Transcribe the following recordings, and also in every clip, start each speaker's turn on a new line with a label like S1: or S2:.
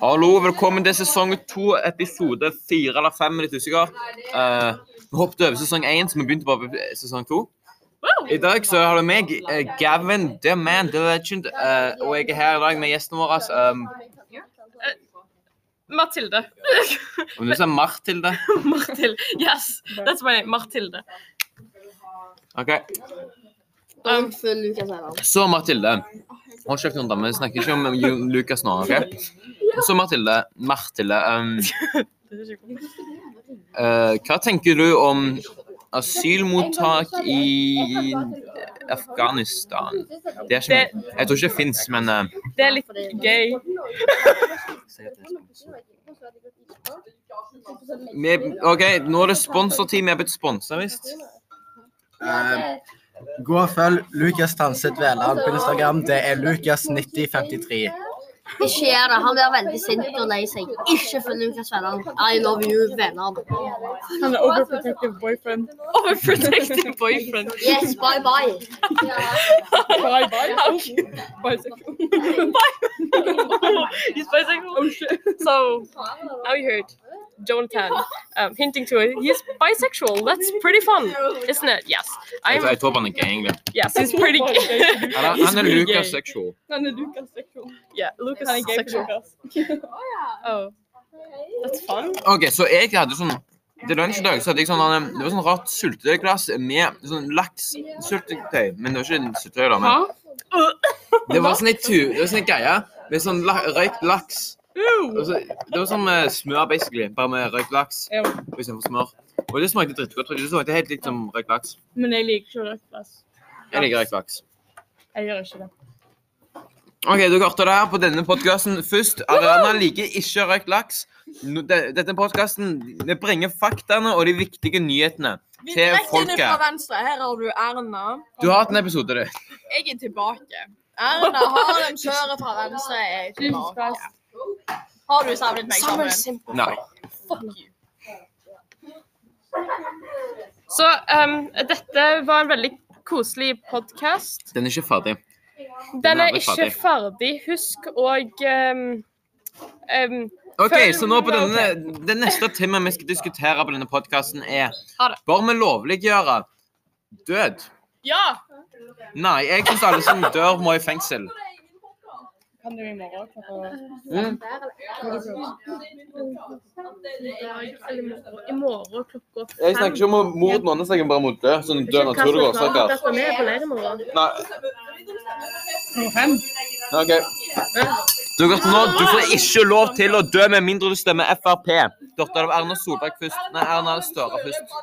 S1: Hallo, velkommen til sesong to, episode fire eller fem. Litt usikker. Eh, vi hoppet over sesong én, så vi begynte bare på sesong to. I dag så har du meg, eh, Gavin, the man, the legend. eh, og jeg er her i dag med gjestene våre. Um,
S2: Mathilde.
S1: om sånn du sier Martilde?
S2: Martil. Yes, that's my name. Mathilde.
S1: OK.
S2: Um,
S3: Før Lukas er der.
S1: Så Mathilde. Hold kjeft, Jonda. Vi snakker ikke om Ju- Lukas nå. ok? Så Mathilde. Martilde. Um,
S2: er
S1: eh, hva tenker du om asylmottak i Afghanistan? Det er ikke
S2: det,
S1: Jeg tror ikke det fins, men eh,
S2: det er litt gøy.
S1: vi, OK, nå er det sponsortid. Vi er blitt sponsa, visst.
S4: Eh, Gå og følg Lukas Tanset Veland på Instagram. Det er Lukas9053.
S3: Ikke gjør det. Han blir veldig sint og lei seg. Ikke følg Lukas Vennan. I love you, venner.
S2: Han er overprotective boyfriend. Overprotective boyfriend.
S3: Yes, bye bye.
S2: bye, bye. How cute. Bisexual. Bye. He's bisexual. Oh, shit. So, now you heard Jonathan um, hinting to it. He's bisexual. That's pretty fun, isn't it? Yes.
S1: Jeg,
S2: I'm,
S1: jeg tror bare han er gay, egentlig.
S2: yes, he's pretty gay.
S1: Han er,
S2: He's
S1: han er
S2: pretty
S1: Lucas
S2: gay.
S1: sexual.
S5: Han er Lukas seksjon.
S2: Yeah, Lucas
S5: Han er
S2: is
S5: gay for
S2: sexual.
S5: Lukas.
S2: Oh, that's fun.
S1: OK, så jeg hadde sånn til lunsj i dag så hadde jeg sånn, eh, det var sånn rart syltetøyglass med sånn lakssyltetøy. Men det var ikke en syltetøy, da. Men det var sånn en tu- det var sånn en greie med sånn la, røykt laks. Og så, det var sånn med smør, basically. Bare med røykt laks
S5: Ja.
S1: og istedenfor smør. Og det smakte dritgodt. Det smakte helt likt som røykt laks.
S5: Men jeg liker ikke rødt glass.
S1: Jeg liker røykt laks.
S5: Jeg gjør ikke det.
S1: Ok, du hørte det her på denne podcasten først. Ariana liker ikke røykt laks. Nå- de- Denne podcasten vi bringer faktaene og de viktige nyhetene.
S5: Vi
S1: Til
S5: trekker ned
S1: folket.
S5: fra venstre. Her har du Erna.
S1: Du har hatt en episode, du.
S5: Jeg er tilbake. Erna har dem kjøret fra venstre. Jeg er tilbake. Har du savnet meg sammen?
S1: Nei.
S2: Så um, dette var en veldig koselig podkast.
S1: Den er ikke ferdig.
S2: Den er
S1: aldri
S2: ikke ferdig. Husk og um, um,
S1: Ok,
S2: Følg
S1: så nå på
S2: med,
S1: denne, det neste temaet vi skal diskutere på denne podcasten er
S2: Ha det.
S1: Bør vi lovliggjøre død?
S2: Ja!
S1: Nei, jeg synes alle som dør må i fengsel.
S5: Kan du i morgen klokka
S1: Mm.
S2: I morgen klokka fem.
S1: Jeg snakker ikke om mord nå, jeg snakker bare om død. Sånn død naturlig årsaker. Nei,
S5: fem?
S1: Ok. Du, Karsten, nå, du får ikke lov til å dø med mindre du stemmer Frp. Datter av Erna Solberg først. Nei, Erna Støre først.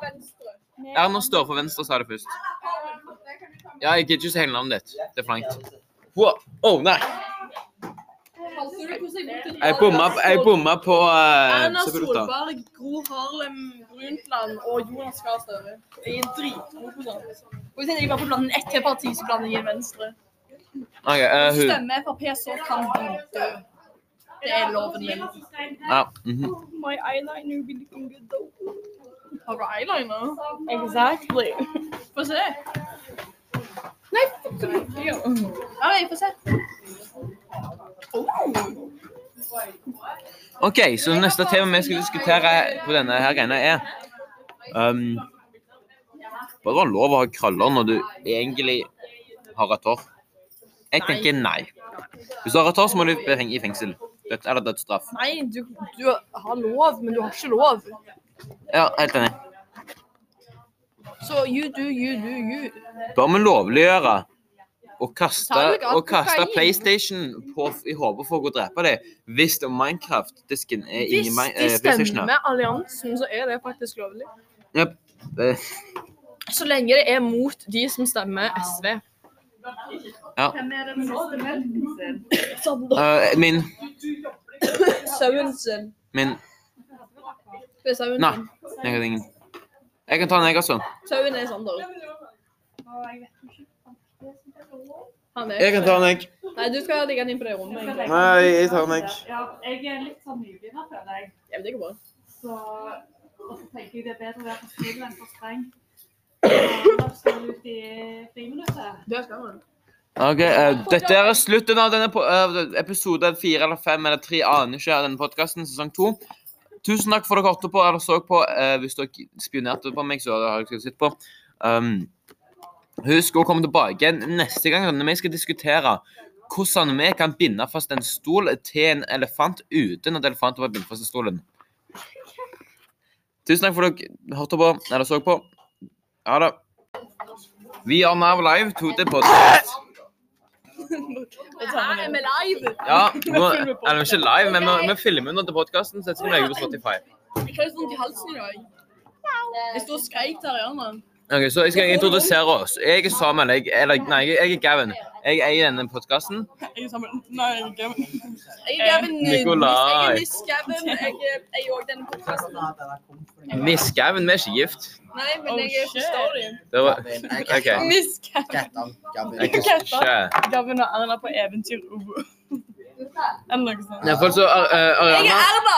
S1: Erna Støre for Venstre sa det først. Ja, jeg gidder ikke si hele navnet ditt. Det er flankt. Wow. Oh, nei. Jeg bomma, jeg bomma på eh,
S5: Erna
S1: Sebulta.
S5: Solberg, Gro Harlem Brundtland og Jonas Gahr Støre. Jeg er dritgod på sånt. Og hvis jeg bare får blande inn ett til parti, så blander jeg inn Venstre.
S1: Ok, eh, hun.
S5: Stemmer Frp, så kan du dø. Det er loven min.
S1: Ja. mhm.
S5: My eyeliner will looking good though. Har du eyeliner? Exactly. Få se. Nei, fuck så mye. Ja, jeg får se. Oh.
S1: OK, så det neste tema vi skal diskutere på denne her greiene, er um, Bør det være lov å ha krøller når du egentlig har rødt hår? Jeg tenker nei. Hvis du har rødt hår, så må du bli hengt i fengsel. Død, eller dødsstraff.
S5: Nei, du, du har lov, men du har ikke lov.
S1: Ja, helt enig.
S5: Så you do, you do, you.
S1: Bør vi lovliggjøre å kaste,
S5: Salg av
S1: å kaste
S5: kokain.
S1: PlayStation på, i håpet for å gå og drepe dem hvis Minecraft-disken er inni
S5: Hvis
S1: Mi-
S5: de
S1: eh, PlayStation?
S5: stemmer alliansen, så er det faktisk lovlig.
S1: Yep. Eh,
S5: Så lenge det er mot de som stemmer SV.
S1: eh, min
S5: Sauen sin.
S1: Min
S5: Det er sauen
S1: Nei.
S5: sin.
S1: Jeg har ingen. Jeg kan ta den, jeg også.
S5: Sauen er Sander. Han er
S1: Jeg kan ta den, jeg.
S5: Nei, du skal legge den inn på det rommet. egentlig.
S1: Nei, jeg tar den, jeg.
S6: Ja, jeg er litt sånn nybegynner, føler jeg.
S5: Ja, men det går bra.
S6: Så, og så tenker jeg det er bedre å være for snill enn for streng. Så Da skal du ut i friminuttet.
S5: Det skal man.
S1: Ok, eh, Dette er slutten av denne po- eh, episode fire eller fem eller tre, aner ikke, av denne podkasten, sesong to. Tusen takk for at dere hørte på eller så på. eh, hvis dere spionerte på meg, så har dere sett på. Um, husk å komme tilbake igjen neste gang når vi skal diskutere hvordan vi kan binde fast en stol til en elefant uten at elefanten var bindt fast i stolen. Tusen takk for at dere hørte på eller så på. Ha det. We are now live to the podcast.
S2: Her er vi live!
S1: Ja, nå er vi ikke live, men vi, vi filmer under podkasten, så dette skal vi legge på Spotify.
S5: Jeg har litt vondt i halsen i dag. Jeg sto og skreik der i hjørnet.
S1: Ok, så Jeg skal introdusere oss. Jeg er Samuel. Jeg, eller, nei, jeg- jeg er Gavin. Jeg eier denne podkasten.
S5: Jeg er sammen. Nei, jeg er gammel.
S2: Jeg er Gavin.
S1: Nikolai.
S2: Jeg er Miss Gavin. Jeg er òg denne podkasten.
S1: Miss Gavin, vi er ikke gift.
S2: Nei, men jeg er
S5: shit.
S2: forstår det.
S1: Det var OK.
S4: Gavin.
S5: Miss Gavin.
S1: Jeg er ikke
S5: Gavin og Erna på eventyr. Uh. Eller noe sånt.
S1: Iallfall så Ar- eh,
S2: Jeg er
S1: Ariana
S2: Erna!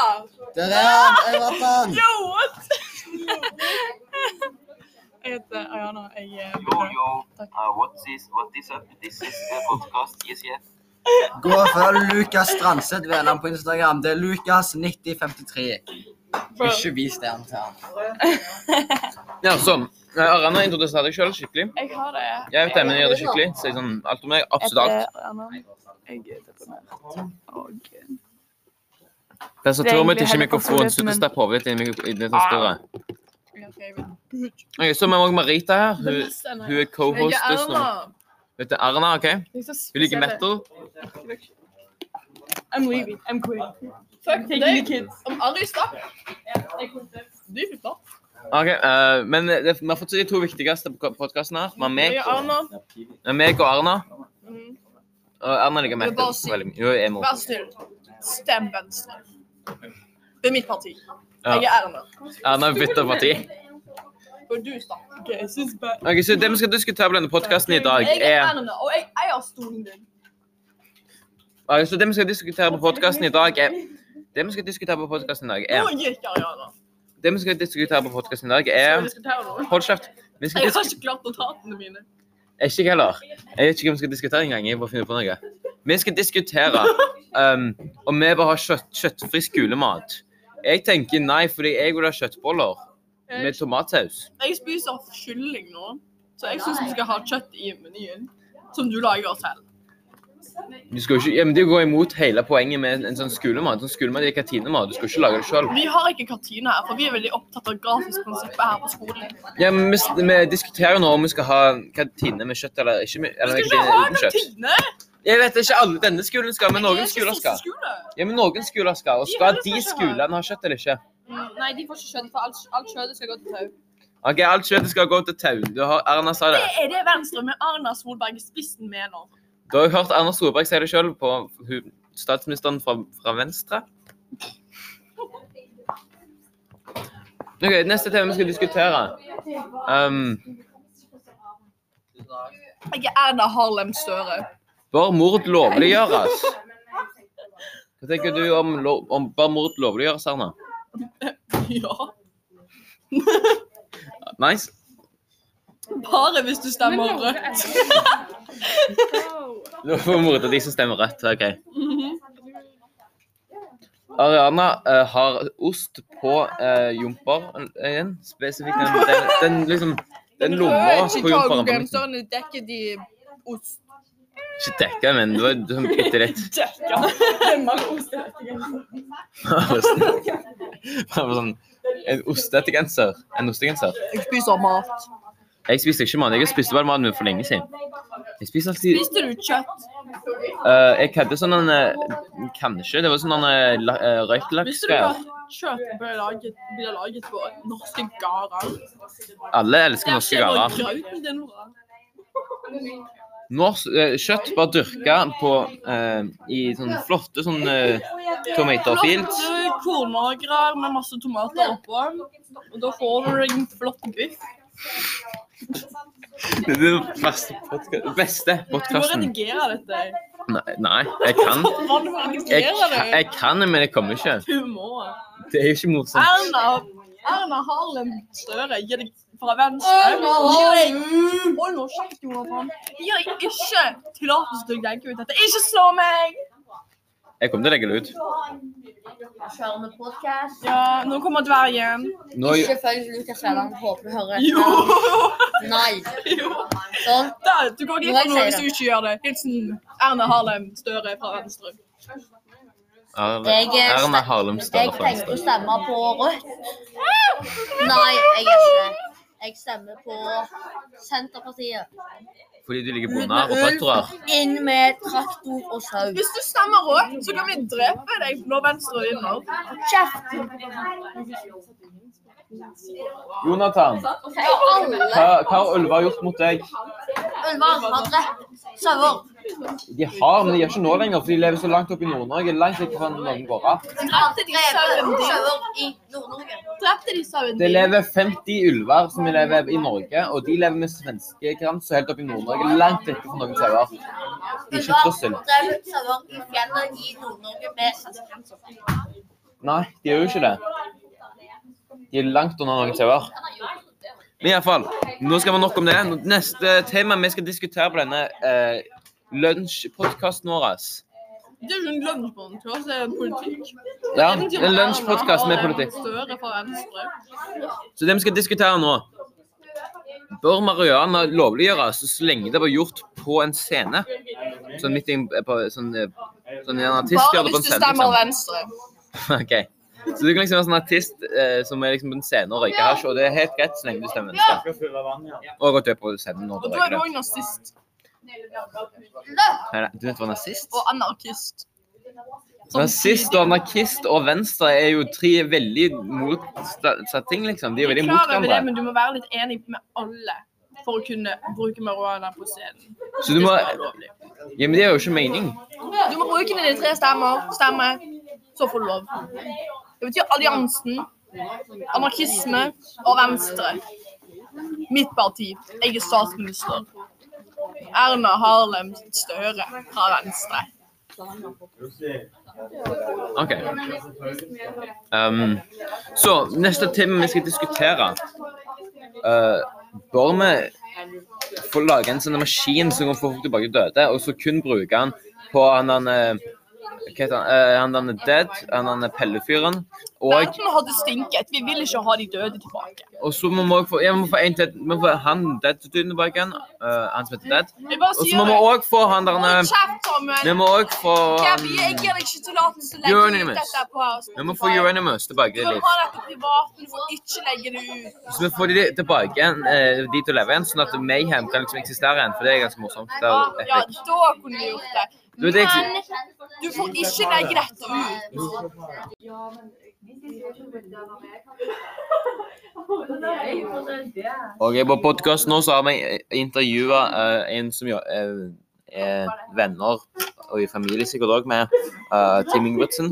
S4: Der er han! Jeg vet han!
S5: Yo, what? jeg heter Ariana. Jeg eh, er Takk.
S4: Gå og følg Lukas Strandseth Veland på Instagram. Det er Lukas9053. Ikke vis det han til han.
S1: Ja, så. eh, Ariana introduserte deg sjøl skikkelig.
S5: Jeg har det.
S1: Jeg vet det, men jeg gjør det skikkelig. Si sånn alt om meg. Absolutt
S5: eh,
S1: alt.
S5: Ariana. Jeg er deprimert. Og
S1: Tastaturet mitt er ikke
S5: Det er egentlig
S1: mikrofonen.
S5: heller
S1: Slutt å
S5: kontrollert,
S1: stappe hodet ditt inn i mikro- i det tastaturet.
S5: jeg er favorite.
S1: Ok, så har vi også Marita her.
S5: Det
S1: Hun,
S5: meste er
S1: hun
S5: meg.
S1: er
S5: Jeg er
S1: co-hostess
S5: Erna.
S1: nå. Vet du, Erna, OK?
S5: Jeg er så
S1: Hun liker
S5: spesiell.
S1: metal.
S5: I'm leaving. I'm quitting.
S2: Fuck
S5: Taking the
S2: deg.
S5: kids.
S2: Om Ari stopper.
S5: Du er flott.
S1: Ok, eh, men det, vi har fått de to viktigste podkastene her. Vi har meg,
S5: Jeg er Erna.
S1: det er meg og Erna.
S5: Mm.
S1: Og Erna liker
S5: Men
S1: metal.
S5: bare si-
S1: veldig mye. Hun er emo.
S5: Vær så snill. Stem Venstre. Det er mitt parti.
S1: Ja.
S5: Jeg er Erna.
S1: Erna er bytter parti.
S5: Og du stemmer. Okay, jeg syns bare
S1: Ok, så Det vi skal diskutere på denne podkasten i dag,
S5: Jeg er
S1: er
S5: Erna, og jeg eier stolen din.
S1: Ok, så det vi skal diskutere på podcasten i dag, er Det vi skal diskutere på podcasten i dag,
S5: Nå
S1: er
S5: gikk Ariana.
S1: Det vi skal diskutere på podcasten i dag,
S5: Skal vi
S1: er
S5: diskutere noe?
S1: Hold kjeft. Vi skal
S5: Eh, Jeg har
S1: diskutere
S5: ikke klart notatene mine.
S1: Ikke jeg heller. Jeg vet ikke hva vi skal diskutere engang. Jeg bare finner på noe. Vi skal diskutere um, om vi bør ha kjøtt, kjøttfri skolemat. Jeg tenker nei, fordi jeg vil ha kjøttboller
S5: Eh,
S1: med tomatsaus.
S5: Jeg spiser kylling nå, så jeg syns vi skal ha kjøtt i menyen. Som du lager selv.
S1: Du skal jo ikke, ja, men det går imot hele poenget med en sånn skolemat. Sånn skolemat er kantinemat. Du skal ikke lage det sjøl.
S5: Vi har ikke kantine her, for vi er veldig opptatt av gratisprinsippet her på skolen.
S1: Ja, men vi, vi diskuterer jo nå om vi skal ha kantine med kjøtt eller ikke. Med,
S5: Vi
S1: eller
S5: skal ikke ha
S1: kantine uten kjøtt.
S5: kantine!
S1: Jeg vet ikke alle denne skolen skal, men
S5: Jeg er
S1: noen
S5: ikke
S1: skoler skal.
S5: skoleskole.
S1: Ja, men noen skoler skal. Og
S5: De
S1: skal
S5: andre skal
S1: de
S5: ikke ha.
S1: skolene ha kjøtt eller ikke?
S2: Mm, Nei, de får ikke skjønt, for alt, alt kjøttet skal gå til tau.
S1: OK, alt kjøttet skal gå til tau. Du har Erna sa det.
S5: Det er det Venstre med Erna Solberg i spissen mener.
S1: Du har jo hørt Erna Solberg si det sjøl på hun- statsministeren fra, fra Venstre. OK, neste tema vi skal diskutere. Um,
S5: Jeg er Erna Harlem Støre.
S1: Bør mord lovliggjøres? Hva tenker du om, lo- om bør mord lovliggjøres, Erna?
S5: Ja.
S1: Nice.
S5: Bare hvis du stemmer rødt.
S1: Du får morde de som stemmer rødt. OK. Ariana eh, har ost på eh, jomper eh, igjen. Spesifikt den, den, den liksom Den lomma på jomperen. på midten.
S2: Chicago-genserne dekker sånn, de ost.
S1: Ikke dekka, men det var sånn bitte litt.
S5: Dekka.
S1: Bare sånn En ostetegenser. En ostegenser.
S5: Jeg spiser mat.
S1: Jeg spiste ikke mat. Jeg spiste bare maten min for lenge siden. Jeg spiser alltid
S5: Spiste du kjøtt?
S1: Eh, jeg hadde sånn en eh, Kanskje. Det var sånn en eh, la- eh, røykt laks.
S5: Visste du at kjøtt ble laget, ble laget på norske gårder?
S1: Alle elsker norske
S5: var
S1: gårder.
S5: grauten din, Nora.
S1: Norsk eh, kjøtt var dyrka på eh, i sånne flotte sånn uh, tomater fields.
S5: Flotte kornlagrer med masse tomater oppå. Og da får du en flott biff.
S1: Det er den beste podka- beste
S5: Du må
S1: podkasten.
S5: redigere dette.
S1: Nei, nei, jeg kan.
S5: Hva du må
S1: Jeg,
S5: redigere
S1: kan-
S5: det?
S1: jeg kan, men jeg kommer ikke.
S5: Du må.
S3: Ah.
S1: Det er jo ikke morsomt.
S5: Erna, Erna Harlem Støre, gi deg fra venstre. Hold nå kjeft, Jonathan. De har ikke tillatelse til å legge ut dette. Ikke slå meg!
S1: Jeg kommer til å legge det ut.
S3: Kjører med podkast.
S5: Ja, nå kommer dvergen.
S1: Nå,
S3: Ikke følg Lukas Velland. Håper du hører
S5: Jo!
S3: etter. Nei.
S5: jo.
S3: Sånn.
S5: Der, du går glipp
S3: Nå
S5: av noe
S3: jeg
S5: hvis
S3: sier
S5: du ikke gjør det. Hilsen Erna Harlem Støre fra Venstre.
S1: Erna
S3: Jeg, eh,
S1: Erna Harlem
S3: Jeg
S1: Støre fra
S3: tenkte å
S1: Venstre.
S3: stemme på Rødt. Nei, jeg gjør ikke det. Jeg stemmer på Senterpartiet.
S1: Fordi du ligger
S3: Ut
S1: bunna
S3: med
S1: og traktorer.
S3: ulv, inn med traktor og sau.
S5: Hvis du stemmer rødt, så kan vi drepe deg når Venstre vinner.
S3: Kjeft!
S1: Jonathan,
S3: Alle
S1: har ulver gjort mot deg?
S3: ulver har drept sauer.
S1: De har, men de gjør ikke nå lenger, for de lever så langt opp i Nord-Norge. Langt vekk fra noen gårder.
S3: Jeg har drept sauer i Nord-Norge.
S5: Drepte de sauen
S1: Det lever 50 ulver som lever i Norge, og de lever med svenske krans og helt opp i Nord-Norge, langt vekk fra noen sauer. Det er ikke
S3: Ulver
S1: trussel.
S3: drept sauer i fjellet i Nord-Norge med
S1: Nei, de gjør jo ikke det. De er langt unna noen sauer. Men iallfall, nå skal vi nok om det. Neste tema vi skal diskutere på denne eh, lunsjpodkasten vår
S5: Det er jo en lunsjbånd til oss, det er politikk.
S1: Ja, en lunsjpodkast med politikk.
S5: Støre fra Venstre.
S1: Så det vi skal diskutere nå Bør marihuana lovliggjøres så lenge det blir gjort på en scene? Sånn midt i en på, sånn, eh, sånn en artist
S5: Bare
S1: gjør det på
S5: hvis
S1: en
S5: du
S1: scene.
S5: stemmer
S1: Liksom.
S5: Venstre.
S1: Ok. Så du kan liksom være sånn artist eh, som er liksom på en scene og røyker hasj, og det er helt greit så lenge du stemmer venstre. Og at du er på scenen når
S5: Og
S1: du
S5: da
S1: røyker
S5: er
S1: det.
S5: du òg nazist
S1: Nei, nei, Du vet hva nazist?
S5: og anarkist.
S1: Nazist og anarkist og venstre er jo tre veldig motsatte ting, liksom. De er jo veldig mot
S5: Klar over det,
S1: hverandre.
S5: men du må være litt enig med alle for å kunne bruke marihuana på scenen.
S1: Så du må
S5: Det skal være lovlig.
S1: Ja, men det er jo ikke mening.
S5: Du må bruke dine tre stemmer. Stemme, så får du lov. Det betyr alliansen, anarkisme og venstre. Mitt parti. Jeg er statsminister. Erna Harlem Støre fra Venstre.
S1: OK. Um, så neste tema vi skal diskutere uh, Bør vi få lage en sånn maskin som kan få folk tilbake til døde, og så kun bruke den på han den eh, Hva heter han? Eh, han den Dead, han den Pelle-fyren. Og,
S5: Verden hadde stinket. Vi vil ikke ha de døde tilbake.
S1: og så må vi også få, ja, vi må få en til. Vi må få han Dead-duden tilbake igjen. eh, han som heter Dead.
S5: Jeg bare
S1: Og så
S5: sier
S1: må vi
S5: det.
S1: òg få han der eh,
S5: Hold kjeft, Samuel!
S1: Vi må òg få han
S5: Gabby, jeg gir deg ikke tillatelse til å legge ut
S1: Euronymous.
S5: dette på
S1: Vi må få Euronymous tilbake
S5: Du
S1: i
S5: kan
S1: livet.
S5: ha dette privat, men du får ikke legge det ut.
S1: Så vi får de tilbake igjen, eh, de til å leve igjen, sånn at Mayhem kan liksom eksistere igjen. For det er ganske morsomt. Det
S5: Ja,
S1: er jo
S5: ja,
S1: epic.
S5: da kunne du gjort det.
S1: Du, det er ikke-
S5: Men du får ikke legge dette ut.
S1: Og på podkasten nå så har vi intervjua en som jo- eh, er venner og i familie sikkert òg med eh, Tim Ingvardsen.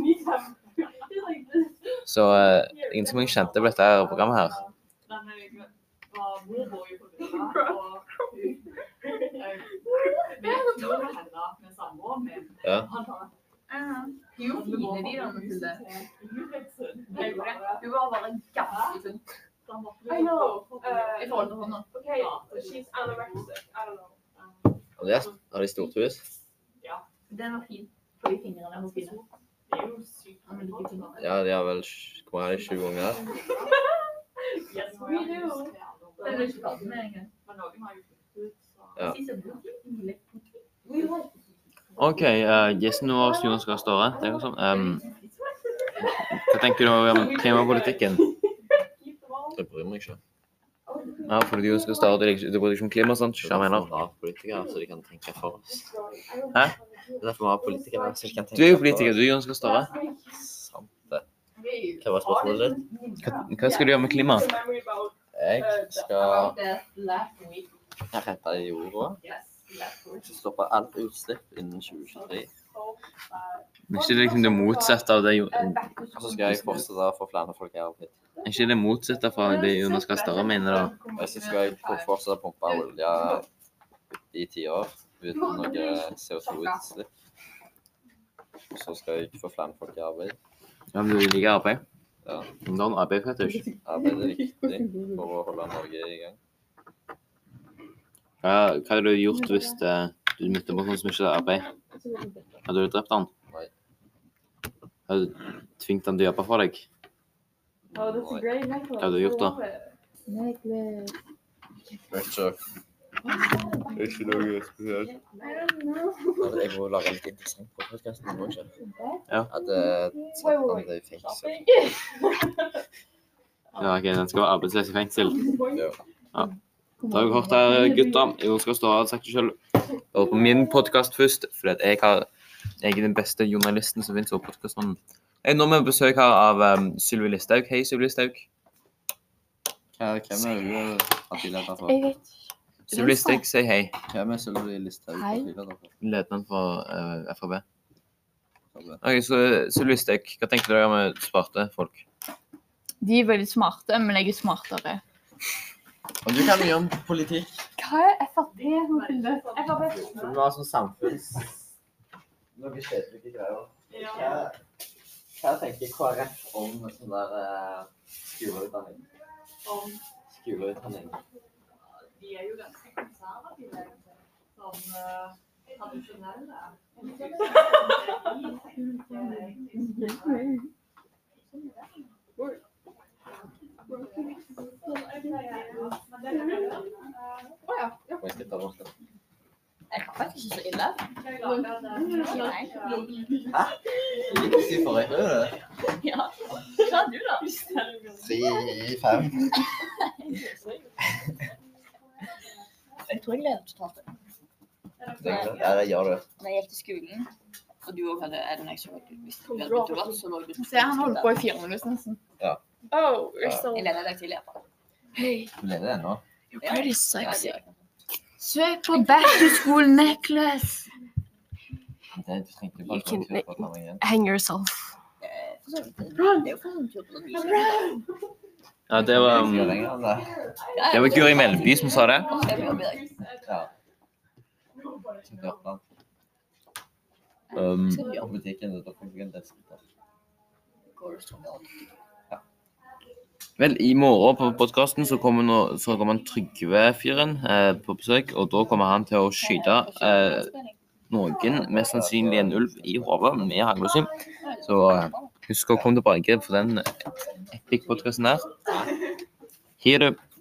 S1: Så eh, ingen som jeg kjente på dette her programmet her. Ja. Og det er- har de stort hus. Ja, de har vel sj- Hvor mange er de? Sju unger? OK, eh, gjesten vår, Jonas Gahr Støre. Det er jo sånn. ehm, hva tenker du om klimapolitikken? Jeg bryr meg ikke. Ja, fordi Jonas Gahr Støre, det er ikke- det bryr deg ikke om klima, sant? Hva mener
S7: vi har politikere, så de kan tenke for oss.
S1: Hæ?
S7: Det er derfor vi har politikere, så de kan tenke
S1: Du er jo politiker, du, Jonas Gahr Støre.
S7: Sant det. Hva var spørsmålet ditt?
S1: Hva, hva skal du gjøre med klima?
S5: Uh,
S7: Jeg skal redde jorda. Så stoppe alt utslipp innen 2023.
S1: Er ikke det liksom det motsatte av det Jo-
S5: uh,
S1: Er
S7: Og så skal jeg fortsette å få flere folk i arbeid.
S1: ikke det motsatte fra det Jonas Gahr Støre mener, da?
S7: Og så skal jeg få- fortsette å pumpe olje i ti år uten noe CO2-utslipp. Og så skal jeg få flere folk i arbeid.
S1: Ja, men du liker arbeid?
S7: Ja.
S1: Du har en AB-fetisj.
S7: Arbeid er viktig for å holde Norge i gang.
S1: Ja, hva hadde du gjort hvis eh, du møtte på noen som ikke hadde arbeid? Hadde du drept han?
S7: Nei.
S1: Hadde du tvingt han til å jobbe for deg?
S6: Oh, that's a great necklace.
S1: Hva hadde du gjort da?
S6: I love it.
S7: Vet ikke. Ikke noe spesielt.
S8: Altså, jeg må lage litt interessant på podcasten, må jeg ikke?
S1: Ja.
S8: At uh, satt han det i fengsel.
S1: Ja, ok, den skal være arbeidsløs i fengsel.
S8: Ja.
S1: Ja. Da har vi hørt her, gutta. Jeg skal stå her og sagt det selv. Hør på min podcast først, fordi at jeg, har, jeg er den beste journalisten som finnes over podcasten. Jeg er nå med besøk her av um, Sylvi Listhaug. Hei, Sylvi Listhaug.
S7: Hvem er hun partileder for?
S1: Sylvi Listhaug, si hei.
S7: Hvem er Sylvi Listhaug partileder for?
S1: Lederen for uh, FrB.
S7: Hva
S1: Ok, så Sylvi Listhaug, hva tenker dere om eh, svarte folk?
S9: De er veldig smarte, men jeg er smartere.
S8: Og du kan mye om politikk.
S9: Hva er Frp?
S8: Du må ha sånn samfunns... Noe kjedelige greier. Hva, hva tenker KrF om sånn der eh, skoleutdanning?
S6: Om-
S8: Skoleutdanning.
S6: De er jo ganske konservative som eh, tradisjonelle.
S7: skal jeg ta bort den?
S3: Jeg kan faktisk ikke så ille.
S8: Jeg gikk i forrige høyre.
S3: Hva er du, da?
S8: Tre i fem.
S3: Jeg tror jeg leder totalt.
S8: Ja, det gjør du.
S3: Når jeg gikk til skolen, og du òg hadde er det når jeg så at du- Hvis du hadde blitt rødt, så lå du
S9: Se, han holder på i fire minutter nesten.
S2: Oh, you're
S9: Uh,
S8: Ja.
S2: so.
S3: Jeg leder deg til i hvert fall.
S8: Du leder ennå.
S9: You're pretty sexy.
S3: Ja,
S9: Søk på back to school necklace.
S8: Det, du trengte jo
S9: You
S8: bare
S9: can-
S8: å kjøpe den igjen.
S9: Hang yourself.
S3: eh, for så vidt. Det er jo for sånn tur på noen
S1: Ja, det var,
S8: Jeg skal
S1: um,
S8: lenger enn det.
S1: det var Guri Melby som sa det.
S3: Jeg blir oppe i dag.
S8: Som du har plan.
S1: Um,
S3: Skal du
S8: På butikken, da får du en del skritt.
S3: Går du sånn med alt?
S1: Vel, i morgen på podkasten så kommer, nå- så kommer han Trygve-fyren eh, på besøk. Og da kommer han til å skyte eh, noen, mest sannsynlig en ulv, i hodet med haglbøsse. Så eh, husk å komme tilbake på den epic podkasten her. Ha det.